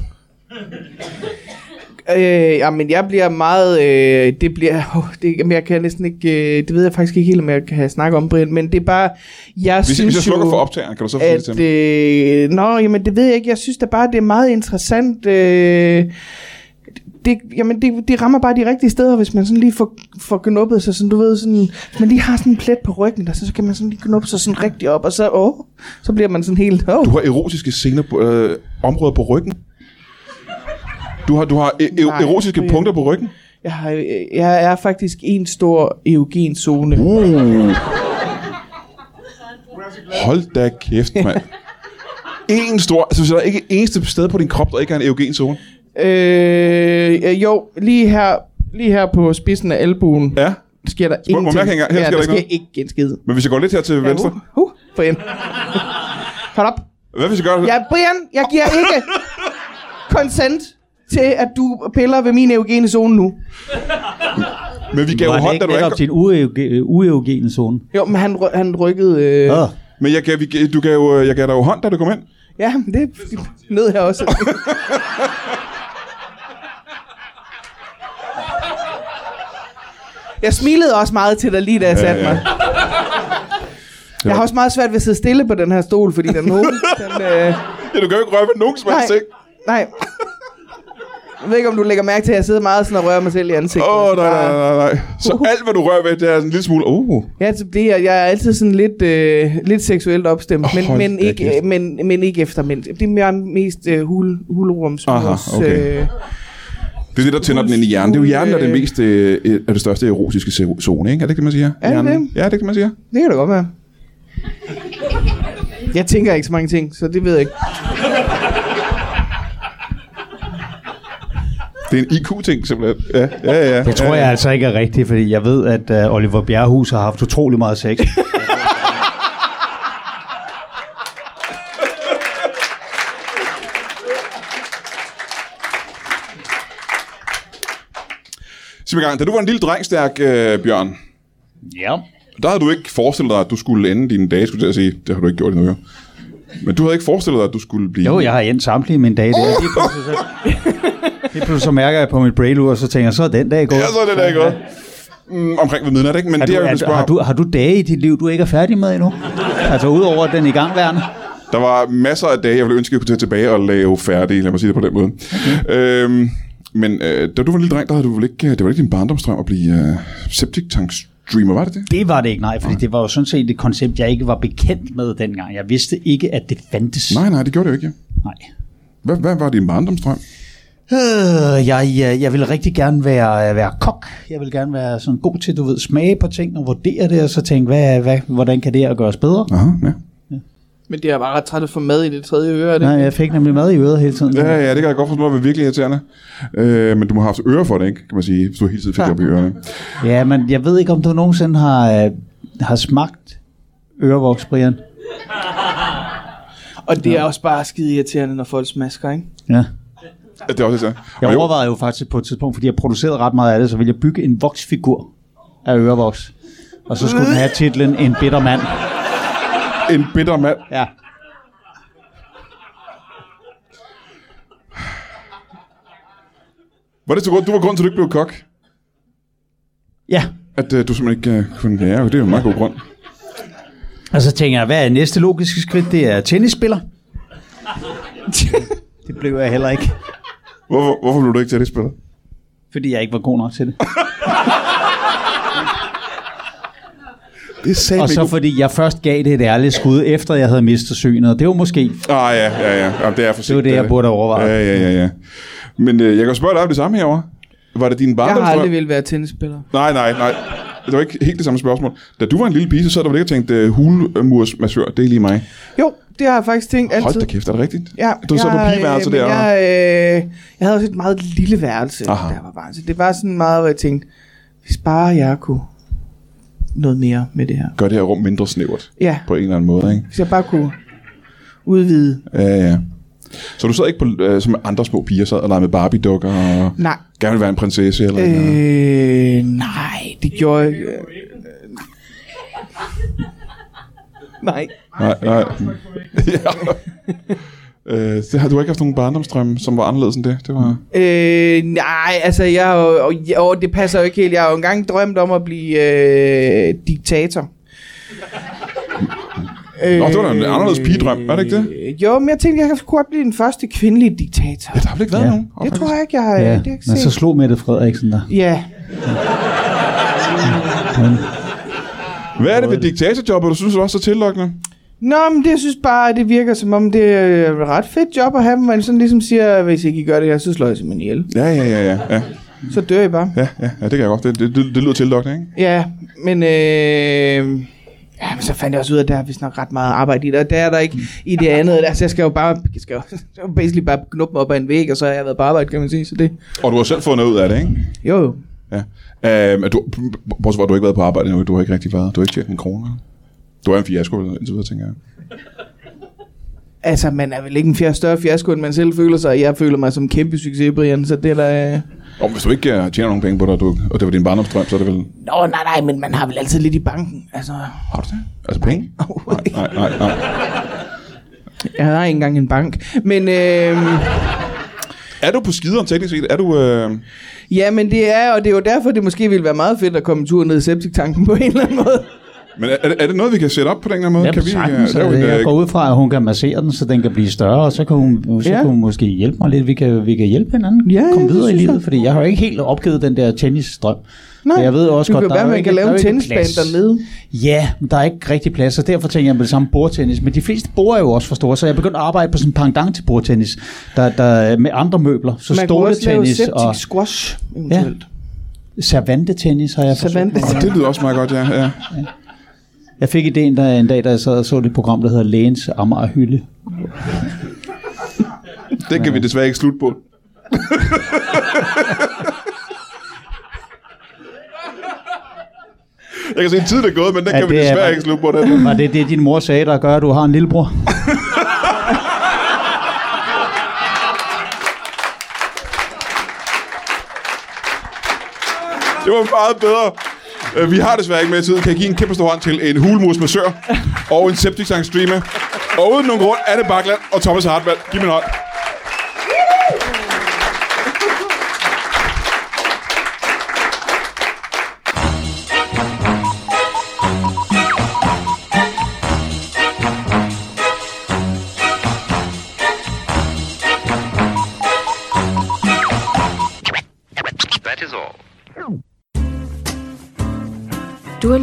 øh, jamen, jeg bliver meget... Øh, det bliver... Oh, det, jamen, jeg kan næsten ikke... Øh, det ved jeg faktisk ikke helt, om jeg kan snakke om, Brian. Men det er bare... Jeg Hvis, synes hvis jeg slukker jo, for optageren, kan du så få det til at, mig? øh, Nå, jamen det ved jeg ikke. Jeg synes da bare, det er meget interessant. Øh, det, jamen det, det rammer bare de rigtige steder, hvis man sådan lige får, får knuppet sig. Sådan, du ved, sådan, hvis man lige har sådan en plet på ryggen, der, så, så kan man sådan lige knuppe sig sådan rigtig op, og så, åh, så bliver man sådan helt... Åh. Du har erotiske scener på, øh, områder på ryggen. Du har, du har e- e- Nej, erotiske Brian. punkter på ryggen. Jeg, har, øh, jeg er faktisk en stor eugen zone. Uh. Hold da kæft, mand. En stor... Altså, så er der ikke et eneste sted på din krop, der ikke er en eogen zone. Øh, øh, jo, lige her, lige her på spidsen af albuen, Ja. sker der må jeg ingenting. ikke engang- her ja, sker der der ikke sker ikke en skid. Men hvis jeg går lidt her til venstre... Uh, uh, Brian. Hold op. Hvad hvis jeg gør det? Ja, Brian, jeg giver ikke consent til, at du piller ved min eugene zone nu. Men vi gav Var det hånd, da ikke du netop ankom. til en ueuge- ueugene zone? Jo, men han, ry- han rykkede... Øh, Ja. Men jeg gav, vi, gav- du gav, øh, jeg gav dig jo hånd, da du kom ind. Ja, men det nød jeg også. Jeg smilede også meget til dig lige da jeg satte ja. mig. Jeg har også meget svært ved at sidde stille på den her stol, fordi den hovedet... (laughs) Den, øh, Ja, du kan jo ikke røre ved nogen som helst, nej, ikke? nej. (laughs) Jeg ved ikke, om du lægger mærke til, at jeg sidder meget sådan og rører mig selv i ansigtet. Åh, oh, nej, nej, Bare- nej, nej. Så Uh-huh. alt, hvad du rører ved, det er sådan en lille smule... Oh. Ja, så det er, jeg er altid sådan lidt, øh, lidt seksuelt opstemt, Åh, oh, men, hold men, da ikke, kæft. øh, men, men ikke efter mænd. Det er mere mest øh, hul, hulrums. Aha, okay. Øh, Det er det, der tænder den ind i hjernen. Det er jo hjernen, der er det, mest, øh, er det største erotiske se- zone, ikke? Er det ikke det, man siger? Uh-huh. Er det Hjernen. det? Ja, er det ikke det, man siger? det kan da godt være. Jeg tænker ikke så mange ting, så det ved jeg ikke. Det er en IQ-ting, simpelthen. Ja, ja, ja. Det tror jeg altså ikke er rigtigt, fordi jeg ved, at uh, Oliver Bjerrehus har haft utrolig meget (laughs) sex. Sig mig gang, da du var en lille drengstærk, øh, Bjørn, ja. der havde du ikke forestillet dig, at du skulle ende dine dage, skulle jeg til at sige. Det har du ikke gjort endnu, jo. Men du havde ikke forestillet dig, at du skulle blive... Jo, jeg har endt samtlige mine dage. Det er lige pludselig så... Lige pludselig så mærker jeg på mit brailur, og så tænker jeg, så er den dag gået. Ja, så er det da ikke godt. Mm, omkring ved midnat, ikke? Men Er det, du, jeg ville er, spørge... har, du, har du dage i dit liv, du ikke er færdig med endnu? Altså udover den igangværende? Der var masser af dage, jeg ville ønske, jeg kunne tage tilbage og lave færdig, lad mig sige det på den måde. Okay. Øhm, men øh, da du var en lille dreng, der havde du vel ikke, øh, det var ikke din barndomsdrøm at blive øh, septic tank streamer, var det det? Det var det ikke, nej, fordi det var jo sådan set et koncept, jeg ikke var bekendt med dengang. Jeg vidste ikke, at det fandtes. Nej, nej, det gjorde det jo ikke. ja. nej. Hvad, hvad var din barndomsdrøm? Øh, jeg, jeg, jeg ville rigtig gerne være, være kok. Jeg ville gerne være sådan god til, du ved, smage på ting og vurdere det, og så tænke, hvad, hvad, hvordan kan det her gøres bedre? Aha, ja. Men det er bare ret træt at få mad i det tredje øre. Nej, jeg fik nemlig mad i øret hele tiden. ja, ja, det kan jeg godt forstå, det var virkelig irriterende. Øh, men du må have haft øre for det, ikke? Kan man sige, hvis du hele tiden fik det op i ørerne. ja, men jeg ved ikke, om du nogensinde har, øh, har smagt ørevoks, Brian. Og det er også bare skide irriterende, når folk smasker, ikke? Ja. Ja, Det er også irriterende. Og Jeg jo, overvejede jo faktisk på et tidspunkt, fordi jeg producerede ret meget af det, så ville jeg bygge en voksfigur af ørevoks. Og så skulle den have titlen En bitter mand. en bitter mand. Ja. Var det så godt, du var grund til, at du ikke blev kok? Ja, At øh, du simpelthen ikke øh, kunne lære, det er jo en meget god grund. Og så tænker jeg, hvad er næste logiske skridt? Det er tennisspiller. det blev jeg heller ikke, Hvorfor, hvorfor blev du ikke til det spiller? fordi jeg ikke var god nok til det. Det er satme Og ikke så fordi jeg først gav det et ærligt skud, efter jeg havde mistet synet. Og Det var måske... Ah, ja, ja, ja. Jamen, det er for sent. Det var det, jeg burde have overvejet. Ja, ja, ja, ja. Men øh, jeg kan jo spørge dig om det samme herovre. Var det din Jeg har barndomsdrøm? aldrig ville være tennisspiller. Nej, nej, nej. Det var ikke helt det samme spørgsmål. Da du var en lille pige, så sad der vel ikke og tænkte, øh, hulmursmassør, det er lige mig. Jo, det har jeg faktisk tænkt altid. Hold da kæft, er det rigtigt? Ja, Du sad på jeg, øh, pigeværelset men der. Jeg, øh, jeg havde også et meget lille værelse, Aha. Aha. der var barn. Så det var sådan meget, hvor jeg tænkte, hvis bare jeg kunne noget mere med det her. Gør det her rum mindre snævert Ja, på en eller anden måde, ikke? hvis jeg bare kunne udvide. Ja, ja. Så du sad ikke på, øh, som andre små piger sad og legede med Barbie-dukker og Nej, gerne ville være en prinsesse eller øh. noget. øh, nej, det gjorde jeg ikke. Øh, Nej. Nej, nej. (laughs) ja. øh, det har du har ikke haft nogen barndomsdrømme, som var anderledes end det? Det var... Øh, nej, altså jeg har jo, og- og det passer jo ikke helt. Jeg har jo engang drømt om at blive øh, diktator. Nå, det var da en anderledes pigedrøm, var det ikke det? Øh, Jo, men jeg tænkte, jeg kunne godt blive den første kvindelige diktator. Ja, der har vel ikke været Ja. nogen? Det tror jeg ikke, jeg har, det har jeg ikke men set. så slog Mette Frederiksen der. Ja, Hvad er det ved diktatorjobbet, du synes du også er tillokkende? Nå, men det jeg synes bare, det virker som om, det er et ret fedt job at have, men sådan ligesom siger, hvis ikke I gør det her, så slår jeg simpelthen ihjel. Ja, ja, ja, ja. Ja, Så dør I bare. ja, ja, ja det kan jeg godt. Det, det, det, det lyder tillokkende, ikke? Ja, men øh, ja, men så fandt jeg også ud af, at der er vist nok ret meget arbejde i det, og der er der ikke i (laughs) det andet. Altså, jeg skal jo bare, jeg skal jo (laughs) jeg vil basically bare knuppe mig op ad en væg, og så har jeg været på arbejde, kan man sige, så det, Og du har selv fundet ud af det, ikke? jo jo. Ja. Øhm, er du, bortset fra, at du ikke har været på arbejde endnu, du har ikke rigtig været. Du har ikke tjent en krone. eller? Du er en fiasko, indtil videre, tænker jeg. Altså, man er vel ikke en fjerde større fiasko, end man selv føler sig. Jeg føler mig som en kæmpe succes, Brian, så det er da... Og hvis du ikke øh, tjener nogen penge på dig, du, og det var din barndomsdrøm, så er det vel... Nå, nej, nej, men man har vel altid lidt i banken. Altså, Har du det? Altså penge? Nej, nej, nej. nej. jeg har ikke engang en bank. Men, øh, Er du på skider teknisk set? Er du... Øh... ja, men det er, og det er jo derfor, det måske ville være meget fedt at komme en tur ned i septiktanken på en eller anden måde. Men er, er, det- er det noget, vi kan sætte op på den her måde? kan vi, øh, sagtens, lave altså, en, øh, jeg går ud fra, at hun kan massere den, så den kan blive større, og så kan hun, så Ja. ja. kan hun måske hjælpe mig lidt. Vi kan, vi kan hjælpe hinanden Ja, ja, komme det videre i synes livet, jeg. fordi jeg har jo ikke helt opgivet den der tennisstrøm. Nej, Men jeg ved også det godt, kan der være, er jo man ikke- kan der er lave jo en ikke tennisbane plads. dernede. Ja, men der er ikke rigtig plads, og derfor tænker jeg på det samme bordtennis. Men de fleste bord er jo også for store, så jeg begyndte at arbejde på sådan en pendant til bordtennis, der, der med andre møbler. Så man kunne også lave stoletennis og septic squash, eventuelt. Ja. servantetennis har jeg forsøgt. Savante. Åh, Ah, det lyder også meget godt, ja. ja. Jeg fik ideen der en dag, da jeg sad og så det program, der hedder Lægens Amager Hylde. Det kan vi desværre ikke slutte på. Jeg kan se, at tiden er gået, men den Ja, ja, kan vi det er desværre bare- ikke slutte på. Den. Var det det, din mor sagde, der gør, at du har en lillebror? Det var meget bedre. Øh, Vi har desværre ikke mere tid. Kan jeg give en kæmpe stor hånd til en hulmus massør og en septic tank streamer. Og uden nogen grund, Anne Bakland og Thomas Hartmann. Giv mig en hånd. That is all. Du har